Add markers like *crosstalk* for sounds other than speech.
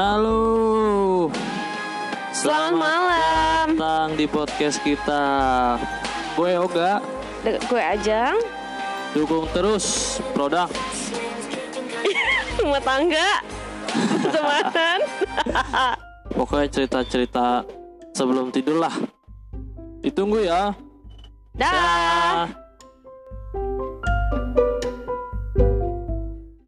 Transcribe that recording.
Halo. Selamat malam. Datang di podcast kita. Gue Oga, De- gue Ajang, dukung terus produk. *laughs* rumah tangga, *laughs* pertemanan. Pokoknya cerita-cerita sebelum tidur lah. Ditunggu ya. Dah. Dah.